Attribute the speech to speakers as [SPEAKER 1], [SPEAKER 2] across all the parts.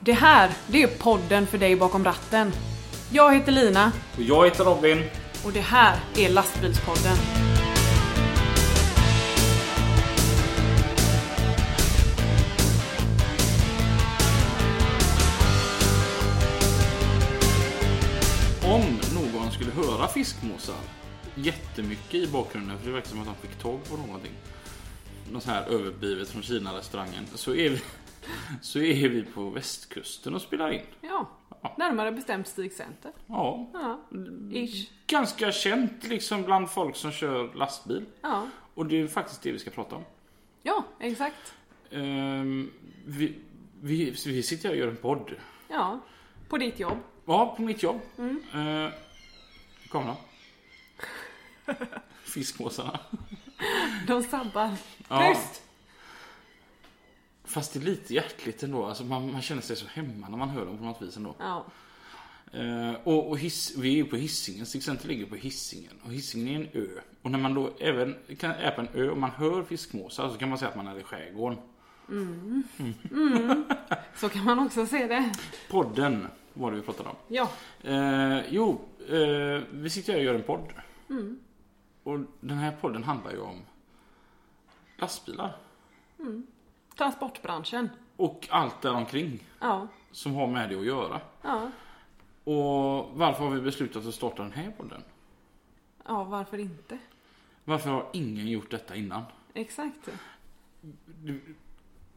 [SPEAKER 1] Det här, det är podden för dig bakom ratten. Jag heter Lina
[SPEAKER 2] Och jag heter Robin.
[SPEAKER 1] och det här är Lastbilspodden.
[SPEAKER 2] Om någon skulle höra fiskmåsar jättemycket i bakgrunden, för det verkar som att han fick tag på någonting. Något så här överblivet från Kina-restaurangen. Så är vi, så är vi på västkusten och spelar in.
[SPEAKER 1] Ja, närmare bestämt Stig Center.
[SPEAKER 2] Ja,
[SPEAKER 1] Ja,
[SPEAKER 2] Mm.
[SPEAKER 1] ish.
[SPEAKER 2] ganska känt liksom bland folk som kör lastbil.
[SPEAKER 1] Ja,
[SPEAKER 2] Och det är faktiskt det vi ska prata om.
[SPEAKER 1] ja exakt.
[SPEAKER 2] Ehm, vi, vi, vi sitter här och gör en podd.
[SPEAKER 1] Ja, på ditt jobb.
[SPEAKER 2] Ja, på mitt jobb. Mm. Eh, kom då. Fiskmåsarna.
[SPEAKER 1] De sabbar.
[SPEAKER 2] Ja.
[SPEAKER 1] Tyst!
[SPEAKER 2] Fast det är lite hjärtligt ändå. Alltså man, man känner sig så hemma när man hör dem på något vis ändå.
[SPEAKER 1] Ja.
[SPEAKER 2] Eh, och och hiss, vi är ju på Hisingen. Stig Center ligger på Hisingen. Och Hisingen är en ö. Och när man då även kan, är på en ö och man hör fiskmåsar så kan man säga att man är i skärgården.
[SPEAKER 1] Så kan man också se det.
[SPEAKER 2] Podden var det vi pratade om.
[SPEAKER 1] Ja,
[SPEAKER 2] Eh, jo, eh, vi sitter här och gör en podd. Och den här podden handlar ju om lastbilar.
[SPEAKER 1] transportbranschen.
[SPEAKER 2] Och allt däromkring
[SPEAKER 1] Ja,
[SPEAKER 2] som har med det att göra.
[SPEAKER 1] ja,
[SPEAKER 2] Och varför har vi beslutat att starta den här podden?
[SPEAKER 1] ja, varför inte?
[SPEAKER 2] Varför har ingen gjort detta innan?
[SPEAKER 1] Exakt.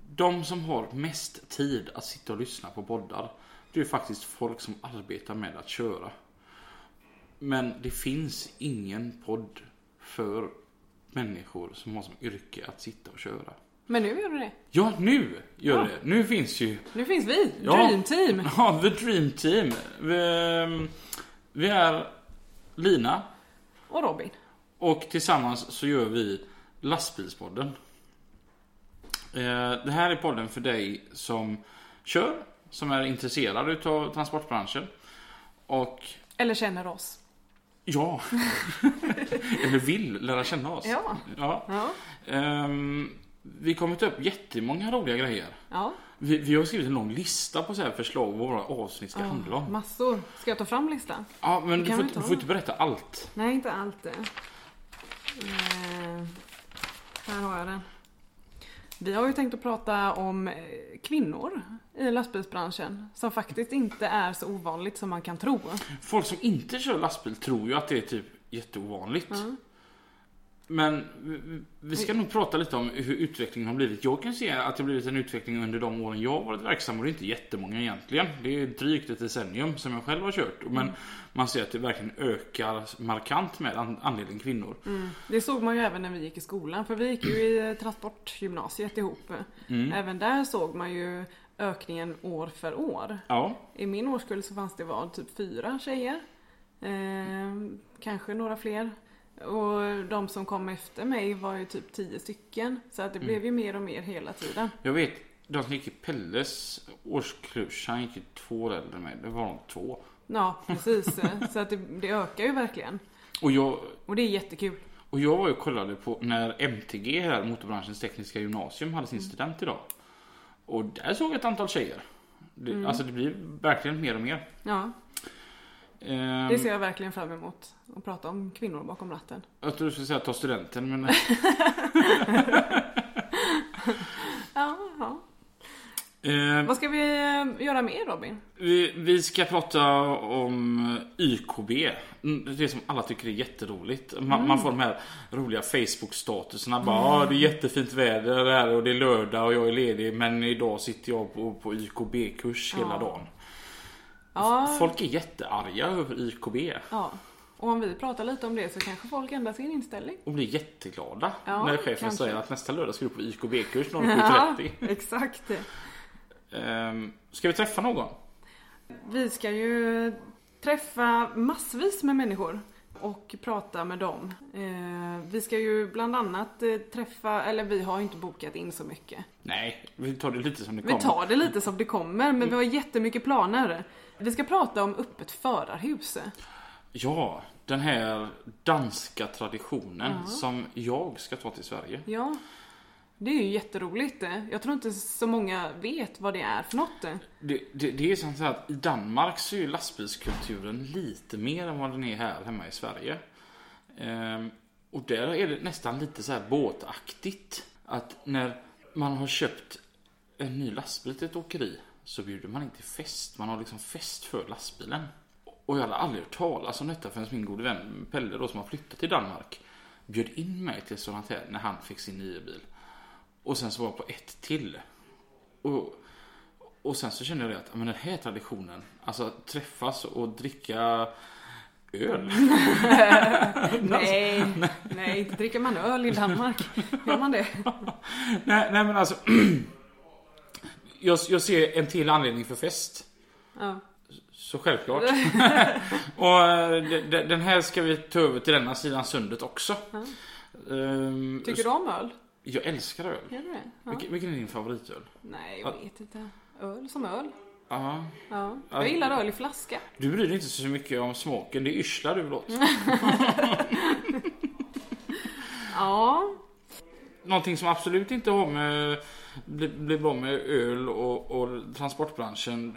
[SPEAKER 2] De som har mest tid att sitta och lyssna på poddar, det är ju faktiskt folk som arbetar med att köra. Men det finns ingen podd för människor som har som yrke att sitta och köra.
[SPEAKER 1] Men nu gör du det.
[SPEAKER 2] Ja, nu gör
[SPEAKER 1] Ja.
[SPEAKER 2] det! Nu finns ju
[SPEAKER 1] Nu finns vi!
[SPEAKER 2] Ja.
[SPEAKER 1] Dream team!
[SPEAKER 2] ja, The Dream Team. Vi, ehm, vi är Lina
[SPEAKER 1] Och Robin.
[SPEAKER 2] Och tillsammans så gör vi Lastbilspodden. Eh, Det här är podden för dig som kör, som är intresserad utav transportbranschen. Och
[SPEAKER 1] Eller känner oss.
[SPEAKER 2] ja, eller vill lära känna oss.
[SPEAKER 1] Ja.
[SPEAKER 2] Ja.
[SPEAKER 1] Ja.
[SPEAKER 2] Ehm, Vi kommer ta upp jättemånga roliga grejer.
[SPEAKER 1] ja.
[SPEAKER 2] Vi, vi har skrivit en lång lista på så här förslag vad våra avsnitt ska handla om.
[SPEAKER 1] Massor. Ska jag ta fram listan?
[SPEAKER 2] Ja, men du
[SPEAKER 1] kan
[SPEAKER 2] får,
[SPEAKER 1] vi ta.
[SPEAKER 2] du får inte berätta allt.
[SPEAKER 1] Nej, inte allt det. Eh, här har jag den. Vi har ju tänkt att prata om eh, kvinnor i lastbilsbranschen som faktiskt inte är så ovanligt som man kan tro.
[SPEAKER 2] Folk som inte kör lastbil tror ju att det är typ jätteovanligt. Men vi- vi ska nog prata lite om hur utvecklingen har blivit. Jag kan se att det har blivit en utveckling under de åren jag har varit verksam och det är inte jättemånga egentligen. Det är drygt ett decennium som jag själv har kört. Men man ser att det verkligen ökar markant med an- andelen kvinnor.
[SPEAKER 1] Det såg man ju även när vi gick i skolan för vi gick ju i eh, transportgymnasiet ihop.
[SPEAKER 2] Mm.
[SPEAKER 1] Även där såg man ju ökningen år för år.
[SPEAKER 2] Ja,
[SPEAKER 1] I min årskull så fanns det var typ fyra tjejer. Eh, kanske några fler. Och de som kom efter mig var ju typ tio stycken. Så att det
[SPEAKER 2] Mm.
[SPEAKER 1] blev ju mer och mer hela tiden.
[SPEAKER 2] jag vet. De som gick i Pelles årskurs, han gick ju två år äldre än mig. Det var de två.
[SPEAKER 1] Ja, precis. så att det, det ökar ju verkligen.
[SPEAKER 2] Och jag,
[SPEAKER 1] Och det är jättekul.
[SPEAKER 2] Och jag var ju och kollade på när MTG här, Motorbranschens Tekniska Gymnasium, hade
[SPEAKER 1] Mm.
[SPEAKER 2] sin student idag. Och där såg jag ett antal tjejer. Det,
[SPEAKER 1] Mm.
[SPEAKER 2] Alltså det blir verkligen mer och mer.
[SPEAKER 1] Ja,
[SPEAKER 2] Ehm,
[SPEAKER 1] det ser jag verkligen fram emot. Att prata om kvinnor bakom ratten.
[SPEAKER 2] Jag tror du skulle säga ta studenten men
[SPEAKER 1] Ja, ja.
[SPEAKER 2] Ehm,
[SPEAKER 1] Vad ska vi eh, göra mer Robin?
[SPEAKER 2] vi, vi ska prata om YKB. Mm, Det som alla tycker är jätteroligt. Man,
[SPEAKER 1] Mm.
[SPEAKER 2] man får de här roliga Facebook-statuserna. Bara, "Ah, det är jättefint väder här och det är lördag och jag är ledig men idag sitter jag på, på YKB-kurs hela dagen.
[SPEAKER 1] Ja,
[SPEAKER 2] Folk är jättearga över YKB
[SPEAKER 1] ja. Och om vi pratar lite om det så kanske folk ändrar sin inställning.
[SPEAKER 2] och blir jätteglada
[SPEAKER 1] Ja,
[SPEAKER 2] när chefen
[SPEAKER 1] kanske.
[SPEAKER 2] säger att nästa lördag ska du på YKB-kurs
[SPEAKER 1] Ja,
[SPEAKER 2] 07.30.
[SPEAKER 1] exakt.
[SPEAKER 2] Ehm, ska vi träffa någon?
[SPEAKER 1] Vi ska ju träffa massvis med människor och prata med dem. Eh, vi ska ju bland annat eh, träffa, eller vi har ju inte bokat in så mycket.
[SPEAKER 2] Nej, vi tar det lite som det
[SPEAKER 1] Vi
[SPEAKER 2] kommer.
[SPEAKER 1] tar det lite som det kommer, men vi har jättemycket planer. Vi ska prata om öppet förarhus.
[SPEAKER 2] Ja, den här danska traditionen som jag ska ta till Sverige.
[SPEAKER 1] Ja, Det är ju jätteroligt. Jag tror inte så många vet vad det är för något.
[SPEAKER 2] Det, det, det är som så här att i Danmark så är ju lastbilskulturen lite mer än vad den är här hemma i Sverige. Ehm, och där är det nästan lite så här båtaktigt. Att när man har köpt en ny lastbil till ett åkeri så bjuder man inte fest. Man har liksom fest för lastbilen. Och jag hade aldrig hört talas om detta förrän min gode vän Pelle då som har flyttat till Danmark bjöd in mig till sådant här när han fick sin nya bil. Och sen så var jag på ett till. Och, och sen så kände jag det att ja, men den här traditionen, alltså att träffas och dricka öl.
[SPEAKER 1] Nej, nej, inte dricker man öl i Danmark. Gör man det?
[SPEAKER 2] nej, nej men alltså. jag, jag ser en till anledning för fest.
[SPEAKER 1] Ja.
[SPEAKER 2] Så självklart. och eh, de- de- den här ska vi ta över till denna sidan sundet också. Ehm,
[SPEAKER 1] Tycker du om öl?
[SPEAKER 2] Jag älskar öl.
[SPEAKER 1] Gör du det? Ja.
[SPEAKER 2] Vilken, vilken är din favoritöl?
[SPEAKER 1] Nej, jag vet inte. Öl som öl.
[SPEAKER 2] Ja.
[SPEAKER 1] Ja.
[SPEAKER 2] Ja.
[SPEAKER 1] Jag gillar öl i flaska.
[SPEAKER 2] Du bryr dig inte så mycket om smaken, det är yrsla du vill åt.
[SPEAKER 1] Ja,
[SPEAKER 2] Någonting som absolut inte har med blir bli bra med öl och, och transportbranschen.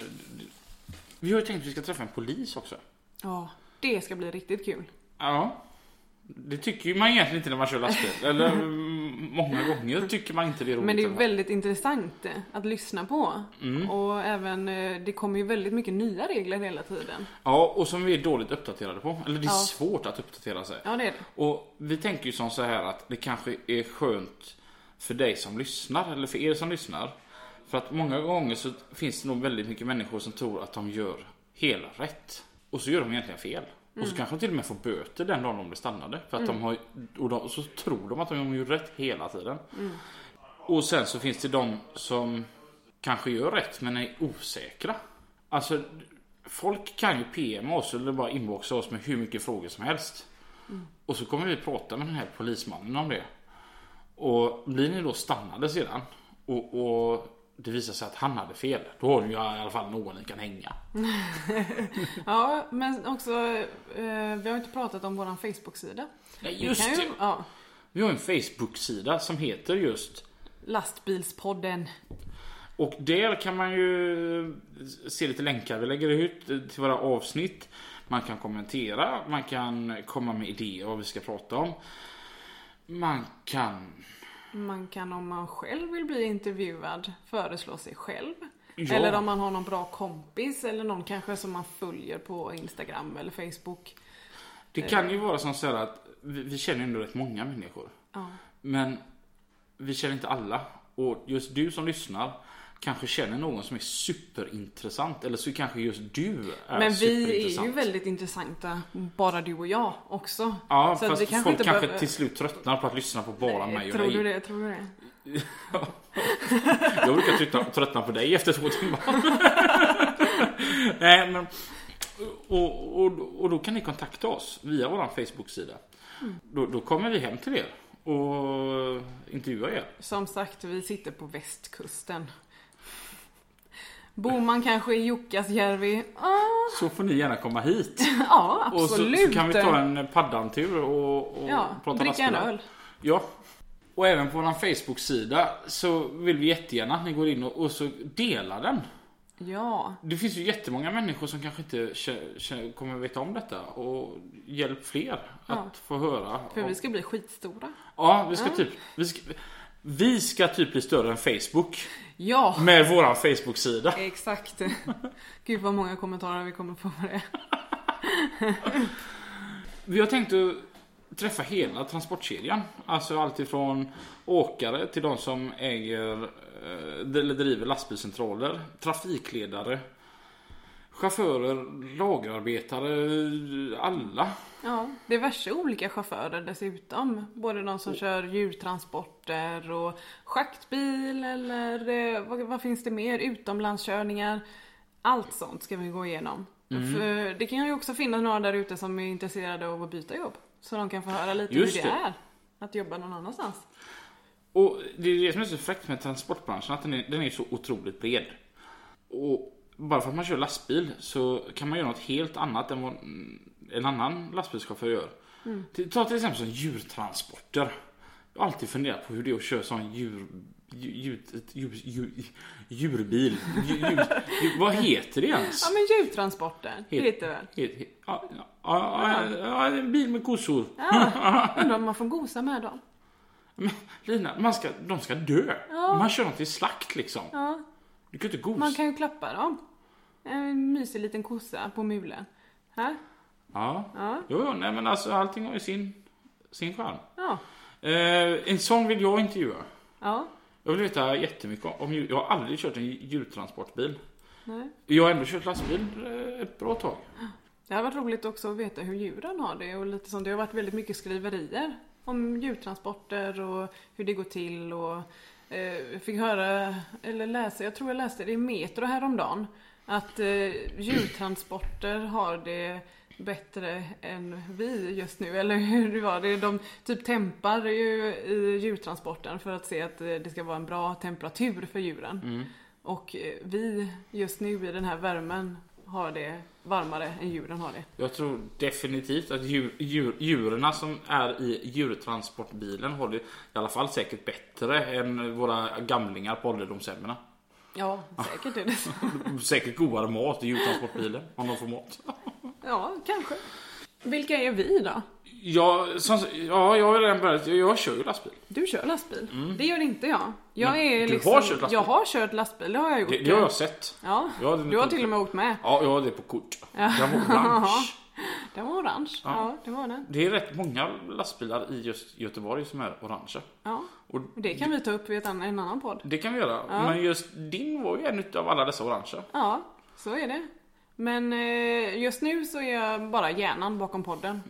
[SPEAKER 2] Vi har ju tänkt att vi ska träffa en polis också.
[SPEAKER 1] ja det ska bli riktigt kul.
[SPEAKER 2] Ja. Det tycker ju man egentligen inte när man kör lastbil. Eller mm, många gånger tycker man inte det är roligt.
[SPEAKER 1] Men det är
[SPEAKER 2] eller?
[SPEAKER 1] väldigt intressant eh, att lyssna på.
[SPEAKER 2] Mm.
[SPEAKER 1] Och även, eh, det kommer ju väldigt mycket nya regler hela tiden.
[SPEAKER 2] Ja, och som vi är dåligt uppdaterade på. Eller det är
[SPEAKER 1] Ja.
[SPEAKER 2] svårt att uppdatera sig.
[SPEAKER 1] Ja, det är det.
[SPEAKER 2] Och vi tänker ju som så här att det kanske är skönt för dig som lyssnar, eller för er som lyssnar. För att många gånger så finns det nog väldigt mycket människor som tror att de gör hela rätt. Och så gör de egentligen fel. Och så kanske de till och med får böter den dagen de blir stannade. För att de har, och de, så tror de att de gör rätt hela tiden. Och sen så finns det de som kanske gör rätt men är osäkra. Alltså, folk kan ju PMa oss eller bara inboxa oss med hur mycket frågor som helst. Och så kommer vi prata med den här polismannen om det. Och blir ni då stannade sedan och, och det visar sig att han hade fel. Då har ni ju i alla fall någon ni kan hänga.
[SPEAKER 1] Ja, men också, eh, vi har inte pratat om våran Facebook-sida.
[SPEAKER 2] Nej, just
[SPEAKER 1] kan ju,
[SPEAKER 2] det.
[SPEAKER 1] Ja,
[SPEAKER 2] Vi har en Facebook-sida som heter just
[SPEAKER 1] lastbilspodden.
[SPEAKER 2] Och där kan man ju se lite länkar vi lägger ut till våra avsnitt. Man kan kommentera, man kan komma med idéer vad vi ska prata om. Man kan...
[SPEAKER 1] Man kan om man själv vill bli intervjuad föreslå sig själv.
[SPEAKER 2] Ja.
[SPEAKER 1] Eller om man har någon bra kompis eller någon kanske som man följer på Instagram eller Facebook. Eh.
[SPEAKER 2] Det kan ju vara som så här att vi, vi känner ju ändå rätt många människor.
[SPEAKER 1] Ja.
[SPEAKER 2] Men vi känner inte alla. Och just du som lyssnar kanske känner någon som är superintressant. Eller så kanske just du
[SPEAKER 1] Men
[SPEAKER 2] är
[SPEAKER 1] vi är
[SPEAKER 2] superintressant.
[SPEAKER 1] ju väldigt intressanta, bara du och jag också.
[SPEAKER 2] Ja,
[SPEAKER 1] så att
[SPEAKER 2] fast
[SPEAKER 1] vi kanske
[SPEAKER 2] folk
[SPEAKER 1] inte
[SPEAKER 2] kanske
[SPEAKER 1] behöver-
[SPEAKER 2] till slut tröttnar på att lyssna på bara mig och
[SPEAKER 1] Eh, tror
[SPEAKER 2] dig.
[SPEAKER 1] du det? Tror du det?
[SPEAKER 2] Jag brukar tröttna, tröttna på dig efter två timmar. Nej, men, och, och, och då kan ni kontakta oss via vår Facebook-sida.
[SPEAKER 1] Mm.
[SPEAKER 2] Då, då kommer vi hem till er och intervjuar er.
[SPEAKER 1] Som sagt, vi sitter på västkusten. Bor man kanske i Jukkasjärvi? Ah,
[SPEAKER 2] Så får ni gärna komma hit.
[SPEAKER 1] ja,
[SPEAKER 2] Och så,
[SPEAKER 1] absolut.
[SPEAKER 2] så kan vi ta en paddantur och, och
[SPEAKER 1] ja,
[SPEAKER 2] prata
[SPEAKER 1] dricka en
[SPEAKER 2] lastbilar.
[SPEAKER 1] öl.
[SPEAKER 2] Ja. Och även på vår Facebook-sida så vill vi jättegärna att ni går in och, och så delar den.
[SPEAKER 1] Ja,
[SPEAKER 2] Det finns ju jättemånga människor som kanske inte kä- kä- kommer veta om detta och hjälp fler att få höra.
[SPEAKER 1] för
[SPEAKER 2] om-
[SPEAKER 1] vi ska bli skitstora.
[SPEAKER 2] Ja, vi ska typ... Vi ska, vi ska typ bli större än Facebook
[SPEAKER 1] Ja,
[SPEAKER 2] med våran Facebook-sida.
[SPEAKER 1] exakt. Gud vad många kommentarer vi kommer få på det.
[SPEAKER 2] Vi har tänkt att träffa hela transportkedjan. Alltså allt ifrån åkare till de som äger eh, eller driver lastbilscentraler, trafikledare, chaufförer, lagerarbetare, alla.
[SPEAKER 1] Ja, diverse olika chaufförer dessutom. Både de som kör djurtransporter och schaktbil eller eh, vad, vad finns det mer? Utomlandskörningar. Allt sånt ska vi gå igenom. För det kan ju också finnas några där ute som är intresserade av att byta jobb. Så de kan få höra lite
[SPEAKER 2] Just
[SPEAKER 1] hur det,
[SPEAKER 2] det.
[SPEAKER 1] är att jobba någon annanstans.
[SPEAKER 2] Och det är det som är så fräckt med transportbranschen, att den är, den är så otroligt bred. Och bara för att man kör lastbil så kan man göra något helt annat än vad
[SPEAKER 1] Mm.
[SPEAKER 2] en annan lastbilschaufför gör. Till- Ta till exempel som djurtransporter. Jag har alltid funderat på hur det är att köra sån djur... djur, ett djur, djur djurbil. Djur, djur, djur, vad heter det ens?
[SPEAKER 1] Ja men djurtransporter, det heter det väl?
[SPEAKER 2] He- he- Ja, ja, ja, ja, en bil med kossor.
[SPEAKER 1] Ja, undrar om man får gosa med dem.
[SPEAKER 2] Men, Lina, man ska, de ska dö.
[SPEAKER 1] Ja.
[SPEAKER 2] Man kör dem till slakt liksom.
[SPEAKER 1] Ja,
[SPEAKER 2] Du kan ju inte gosa.
[SPEAKER 1] man kan ju klappa dem. En mysig liten kossa på mulen. Här.
[SPEAKER 2] Ja.
[SPEAKER 1] Ja.
[SPEAKER 2] Jo, jo, nej men alltså allting har ju sin, sin charm.
[SPEAKER 1] Ja.
[SPEAKER 2] Eh, en sån vill jag intervjua.
[SPEAKER 1] Ja.
[SPEAKER 2] Jag vill veta jättemycket om- om djur. Jag har aldrig kört en djurtransportbil.
[SPEAKER 1] Nej.
[SPEAKER 2] Jag har ändå kört lastbil eh, ett bra tag.
[SPEAKER 1] Det har varit roligt också att veta hur djuren har det och lite sånt. Det har varit väldigt mycket skriverier om djurtransporter och hur det går till och eh, jag fick höra, eller läsa, jag tror jag läste det i Metro häromdagen att eh, djurtransporter har det bättre än vi just nu, eller hur det var det? De typ tempar ju i djurtransporten för att se att eh, det ska vara en bra temperatur för djuren. Och eh, vi just nu i den här värmen har det varmare än djuren har det.
[SPEAKER 2] Jag tror definitivt att djur, djur, djuren som är i djurtransportbilen har det i alla fall säkert bättre än våra gamlingar på ålderdomshemmen.
[SPEAKER 1] Ja, säkert är det så.
[SPEAKER 2] Säkert godare mat i djurtransportbilen om de får mat.
[SPEAKER 1] Ja, kanske. Vilka är vi då?
[SPEAKER 2] Ja, som, ja jag har ju redan börjat. Jag, jag kör ju lastbil.
[SPEAKER 1] Du kör lastbil. Det gör inte jag. Jag
[SPEAKER 2] Mm. Men
[SPEAKER 1] är
[SPEAKER 2] du
[SPEAKER 1] liksom,
[SPEAKER 2] har kört lastbil.
[SPEAKER 1] Jag har kört lastbil, det har jag gjort.
[SPEAKER 2] Det, det har jag sett.
[SPEAKER 1] Ja,
[SPEAKER 2] Jag hade
[SPEAKER 1] du har
[SPEAKER 2] inte-
[SPEAKER 1] till och med åkt med.
[SPEAKER 2] Ja, jag har det på kort.
[SPEAKER 1] Ja.
[SPEAKER 2] Den var orange.
[SPEAKER 1] Den var orange. Ja,
[SPEAKER 2] Ja.
[SPEAKER 1] det var den.
[SPEAKER 2] Det är rätt många lastbilar i just Göteborg som är orangea.
[SPEAKER 1] Ja.
[SPEAKER 2] Och
[SPEAKER 1] Det kan vi ta upp i ett annan, en annan podd.
[SPEAKER 2] det kan vi göra. Men just din var ju en utav alla dessa orangea.
[SPEAKER 1] Ja, så är det. Men eh, just nu så är jag bara hjärnan bakom podden.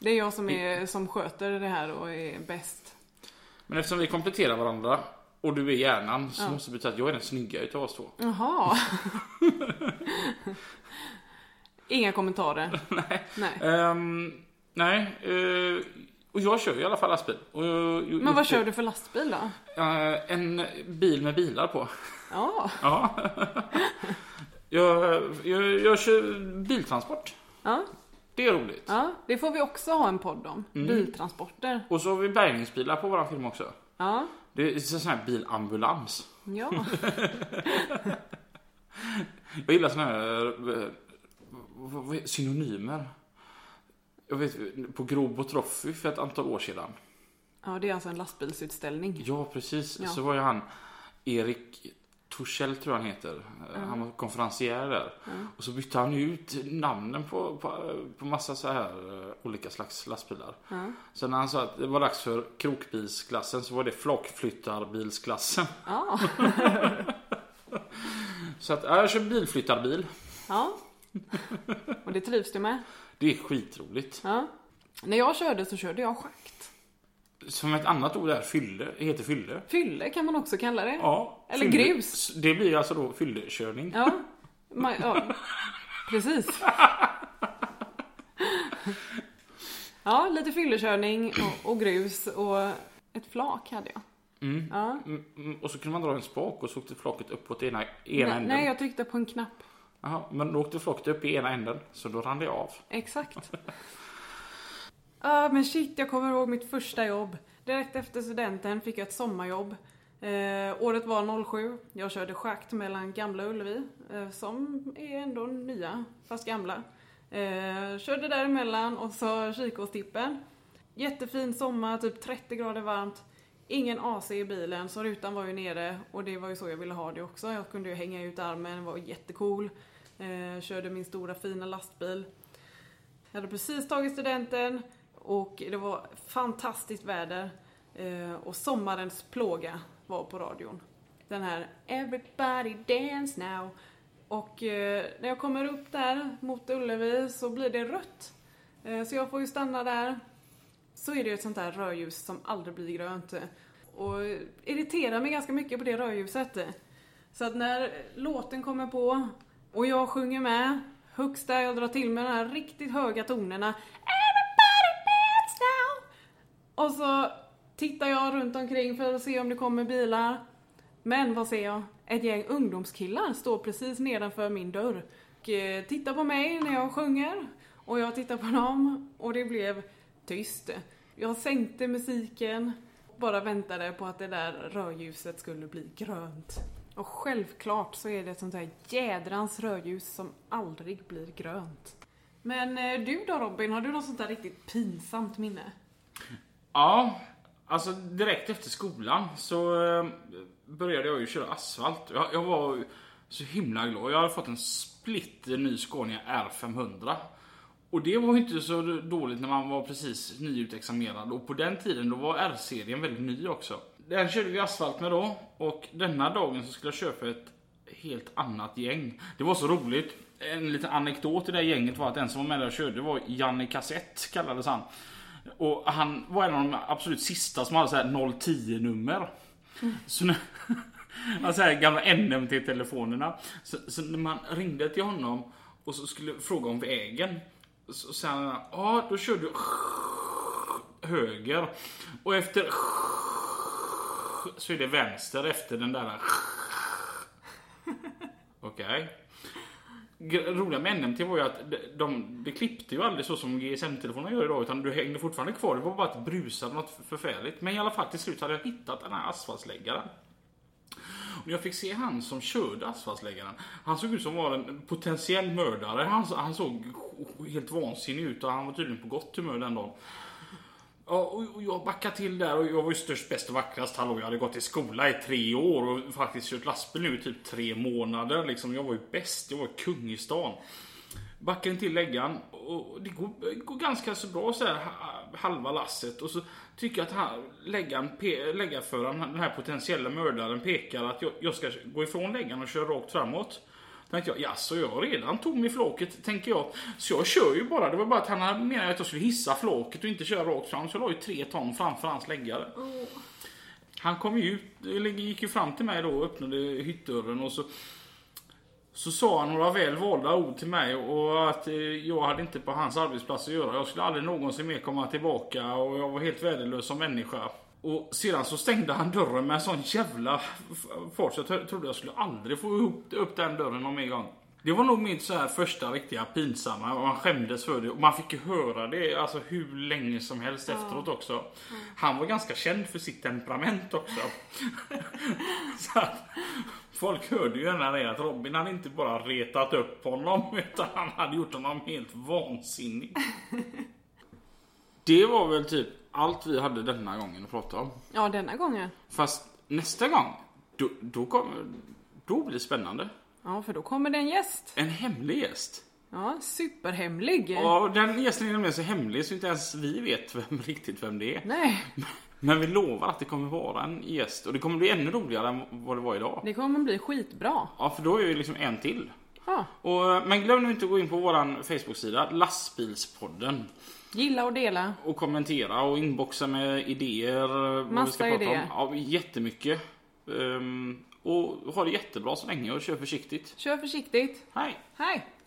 [SPEAKER 1] Det är jag som,
[SPEAKER 2] Mm.
[SPEAKER 1] är, som sköter det här och är bäst.
[SPEAKER 2] Men eftersom vi kompletterar varandra och du är hjärnan så måste det betyda att jag är den snygga utav oss två.
[SPEAKER 1] Jaha. Inga kommentarer.
[SPEAKER 2] Nej.
[SPEAKER 1] Nej.
[SPEAKER 2] Ehm, nej. eh, och jag kör ju i alla fall lastbil. Och,
[SPEAKER 1] Men vad kör du för lastbil då?
[SPEAKER 2] en bil med bilar på.
[SPEAKER 1] Ja,
[SPEAKER 2] Ja. jag, jag, jag kör biltransport.
[SPEAKER 1] ja,
[SPEAKER 2] Det är roligt.
[SPEAKER 1] ja. det får vi också ha en podd om. Biltransporter.
[SPEAKER 2] Och så har vi bärgningsbilar på våran film också.
[SPEAKER 1] Ja,
[SPEAKER 2] Det är en sån här bilambulans.
[SPEAKER 1] ja.
[SPEAKER 2] Jag gillar såna här eh, vad- vad- synonymer. Jag vet på Grobo Trophy för ett antal år sedan.
[SPEAKER 1] ja det är alltså en lastbilsutställning.
[SPEAKER 2] Ja precis,
[SPEAKER 1] Ja.
[SPEAKER 2] så var ju han Erik Torssell tror jag han heter. Eh, Han var konferencier där. Och så bytte han ju ut namnen på, på, på massa så här eh, olika slags lastbilar. Så när han sa att det var dags för krokbilsklassen så var det flockflyttarbilsklassen.
[SPEAKER 1] Ja,
[SPEAKER 2] Så att, ja, jag kör bilflyttarbil.
[SPEAKER 1] ja. Och det trivs du med?
[SPEAKER 2] Det är skitroligt.
[SPEAKER 1] Ja. När jag körde så körde jag schakt.
[SPEAKER 2] Som ett annat ord är fylle, heter fylle.
[SPEAKER 1] Fylle kan man också kalla det.
[SPEAKER 2] Ja.
[SPEAKER 1] Eller
[SPEAKER 2] fylle-
[SPEAKER 1] grus.
[SPEAKER 2] Det blir alltså då fyllekörning.
[SPEAKER 1] Ja, ma- ja. precis. Ja, lite fyllekörning och, och grus och ett flak hade jag. Ja.
[SPEAKER 2] Mm, mm, Och så kunde man dra en spak och så åkte flaket uppåt i ena, ena
[SPEAKER 1] Nej,
[SPEAKER 2] änden.
[SPEAKER 1] nej, jag tryckte på en knapp.
[SPEAKER 2] Jaha, men då åkte flaket upp i ena änden, så då rann det av.
[SPEAKER 1] Exakt. Ja, men shit, jag kommer ihåg mitt första jobb. Direkt efter studenten fick jag ett sommarjobb. Eh, året var 07. Jag körde schakt mellan Gamla Ullevi, eh, som är ändå nya, fast gamla. Eh, körde däremellan och så Kikåstippen. Jättefin sommar, typ 30 grader varmt. Ingen AC i bilen, så rutan var ju nere och det var ju så jag ville ha det också. Jag kunde ju hänga ut armen, var jättecool. Eh, körde min stora fina lastbil. Jag hade precis tagit studenten och det var fantastiskt väder. Eh, Och sommarens plåga var på radion. Den här Everybody dance now. Och eh, när jag kommer upp där mot Ullevi så blir det rött. Eh, Så jag får ju stanna där. Så är det ett sånt där rödljus som aldrig blir grönt. Och eh, irriterar mig ganska mycket på det rödljuset. Så att när låten kommer på och jag sjunger med högst där jag drar till med de här riktigt höga tonerna Everybody dance now! Och så tittar jag runt omkring för att se om det kommer bilar. Men vad ser jag? Ett gäng ungdomskillar står precis nedanför min dörr och eh, tittar på mig när jag sjunger. Och jag tittar på dem och det blev tyst. Jag sänkte musiken. bara väntade på att det där rödljuset skulle bli grönt. Och självklart så är det ett sånt här jädrans rödljus som aldrig blir grönt. Men eh, du då Robin, har du något sånt där riktigt pinsamt minne?
[SPEAKER 2] Ja, alltså direkt efter skolan så eh, började jag ju köra asfalt. Jag, jag var så himla glad. Jag hade fått en splitter ny Scania R500. Och det var ju inte så dåligt när man var precis nyutexaminerad. Och på den tiden då var R-serien väldigt ny också. Den körde vi asfalt med då. Och denna dagen så skulle jag köpa ett helt annat gäng. Det var så roligt. En liten anekdot i det här gänget var att en som var med där och körde var Janne Kassett kallades han. Och han var en av de absolut sista som hade så här 010 nummer. Så när, alltså här gamla NMT-telefonerna. Så, så när man ringde till honom och så skulle fråga om vägen. Så sa han, ja då kör du höger. Och efter så är det vänster efter den där. Okej. Gre- roliga med NMT var ju att de, de, det klippte ju aldrig så som GSM-telefonerna gör idag utan du hängde fortfarande kvar. Det var bara att det brusade något förfärligt. Men i alla fall till slut hade jag hittat den här asfaltsläggaren. Och när jag fick se han som körde asfaltsläggaren. Han såg ut som var en potentiell mördare. Han, så- han såg helt vansinnig ut och han var tydligen på gott humör den dagen. Ja, och och jag backade till där och jag var ju störst, bäst och vackrast. Hallå, jag hade gått i skola i tre år och faktiskt kört lastbil nu i typ tre månader. Liksom, jag var ju bäst, jag var kung i stan. Backar in till läggan och det går, går ganska så bra så här ha- halva lasset och så tycker jag att han, läggan, pe- läggarföraren, den här potentiella mördaren pekar att jag, jag ska gå ifrån läggan och köra rakt framåt. Då tänkte jag, jaså jag har redan tom i flåket, tänker jag. Så jag kör ju bara. Det var bara att han hade- menade att jag skulle hissa flåket och inte köra rakt fram. Så jag la ju tre ton framför hans läggare. Han kom ju ut, eller gick ju fram till mig då och öppnade hyttdörren och så så sa han några väl valda ord till mig och att eh, jag hade inte på hans arbetsplats att göra. Jag skulle aldrig någonsin mer komma tillbaka och jag var helt värdelös som människa. Och sedan så stängde han dörren med en sån jävla f- fart så jag tro- trodde jag skulle aldrig få ihop- upp den dörren någon mer gång. Det var nog mitt så här första riktiga pinsamma och man skämdes för det och man fick ju höra det alltså hur länge som helst efteråt också. Han var ganska känd för sitt temperament också. så att, Folk hörde ju gärna det att Robin hade inte bara retat upp honom utan han hade gjort honom helt vansinnig. Det var väl typ allt vi hade denna gången att prata om.
[SPEAKER 1] Ja, denna gången.
[SPEAKER 2] Fast nästa gång, då, då, kommer, då blir det spännande.
[SPEAKER 1] Ja, för då kommer det en gäst.
[SPEAKER 2] En hemlig gäst.
[SPEAKER 1] Ja, superhemlig.
[SPEAKER 2] Och den gästen är nämligen så hemlig så inte ens vi vet vem, riktigt vem det är.
[SPEAKER 1] Nej,
[SPEAKER 2] Men vi lovar att det kommer vara en gäst och det kommer bli ännu roligare än vad det var idag.
[SPEAKER 1] det kommer bli skitbra.
[SPEAKER 2] Ja, för då är vi liksom en till.
[SPEAKER 1] Ja,
[SPEAKER 2] Och, eh, men glöm nu inte att gå in på vår Facebook-sida, Lastbilspodden.
[SPEAKER 1] gilla och dela.
[SPEAKER 2] Och kommentera och inboxa med idéer. eh, vad vi
[SPEAKER 1] Massa idéer.
[SPEAKER 2] om. Ja, jättemycket. Ehm, och ha det jättebra så länge och kör försiktigt.
[SPEAKER 1] Kör försiktigt.
[SPEAKER 2] Hej!
[SPEAKER 1] Hej!